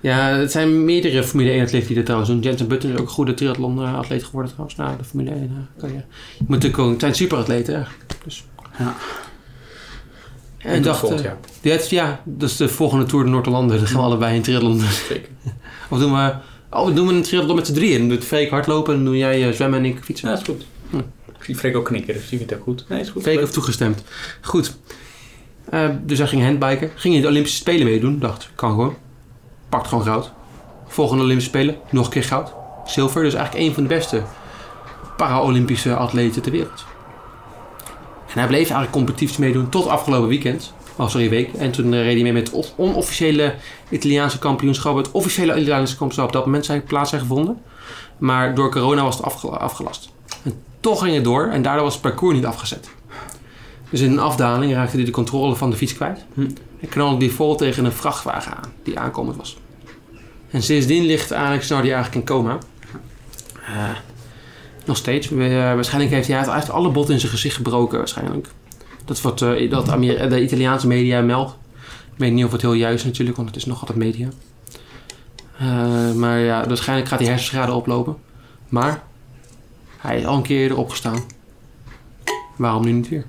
Ja, het zijn meerdere Formule 1 atleten die dat trouwens doen. Jensen Button is ook een goede triathlon eh, atleet geworden trouwens. Na de Formule 1 eh, carrière. Je moet natuurlijk gewoon, het zijn superatleten eigenlijk. Dus, Ja. En ik dacht, volgt, eh, ja. dit- ja, dat is de volgende Tour de Noord-Hollanden. Dan gaan we allebei een triathlon doen. Zeker. Of doen we, oh, we doen een triathlon met z'n drieën. Dan doet Freek hardlopen, dan doe jij eh, zwemmen en ik fietsen. Ja, is goed. Hm. Ik zie Freek ook knikken, dus die vindt het ook goed. Nee, is goed. Freek heeft toegestemd. Goed. Eh, dus hij ging handbiken. Ging in de Olympische Spelen meedoen. Dacht, kan gewoon. Pakt gewoon goud. Volgende Olympische Spelen, nog een keer goud. Zilver, dus eigenlijk een van de beste Paralympische atleten ter wereld. En hij bleef eigenlijk competitief meedoen tot afgelopen weekend. Oh, sorry, week. En toen eh, reed hij mee met het on- onofficiële Italiaanse kampioenschap. Het officiële Italiaanse kampioenschap. Op dat moment zijn plaats zijn gevonden. Maar door corona was het afge- afgelast. En toch ging het door en daardoor was het parcours niet afgezet. Dus in een afdaling raakte hij de controle van de fiets kwijt. Hm. En knalde die vol tegen een vrachtwagen aan die aankomend was. En sindsdien ligt Alex Nardi eigenlijk in coma. Eh, nog steeds. We- eh, waarschijnlijk heeft hij, hij heeft alle botten in zijn gezicht gebroken. Waarschijnlijk. Dat is wat eh, dat Amer- de Italiaanse media meldt. Ik weet niet of het heel juist is natuurlijk, want het is nog altijd media. Eh, maar ja, waarschijnlijk gaat hij hersenschade oplopen. Maar hij is al een keer eerder opgestaan. Waarom nu niet weer?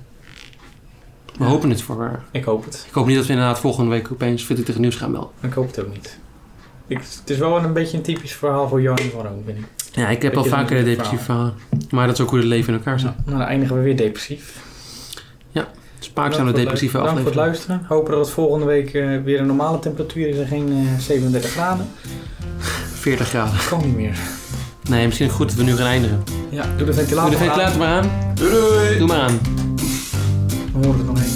We Ja. hopen het voor. haar. Ik hoop het. Ik hoop niet dat we inderdaad volgende week opeens verdrietig nieuws gaan melden. Ik hoop het ook niet. Ik, het is wel een beetje een typisch verhaal voor Johan van Roon, vind ik. Ja, ik heb Ik al heb vaker de een depressieve verhalen. Maar dat is ook hoe het leven in elkaar zit. Nou, dan eindigen we weer depressief. Spaakzame depressieve Dank voor het aflevering. luisteren. Hopen dat het volgende week eh, weer een normale temperatuur is en geen eh, 37 graden. 40 graden. Kan niet meer. Nee, misschien goed dat we nu gaan eindigen. Ja, doe de ventilator Doe de maar aan. ventilator maar aan. Doei doei! Doe maar aan. Dan horen we het nog even.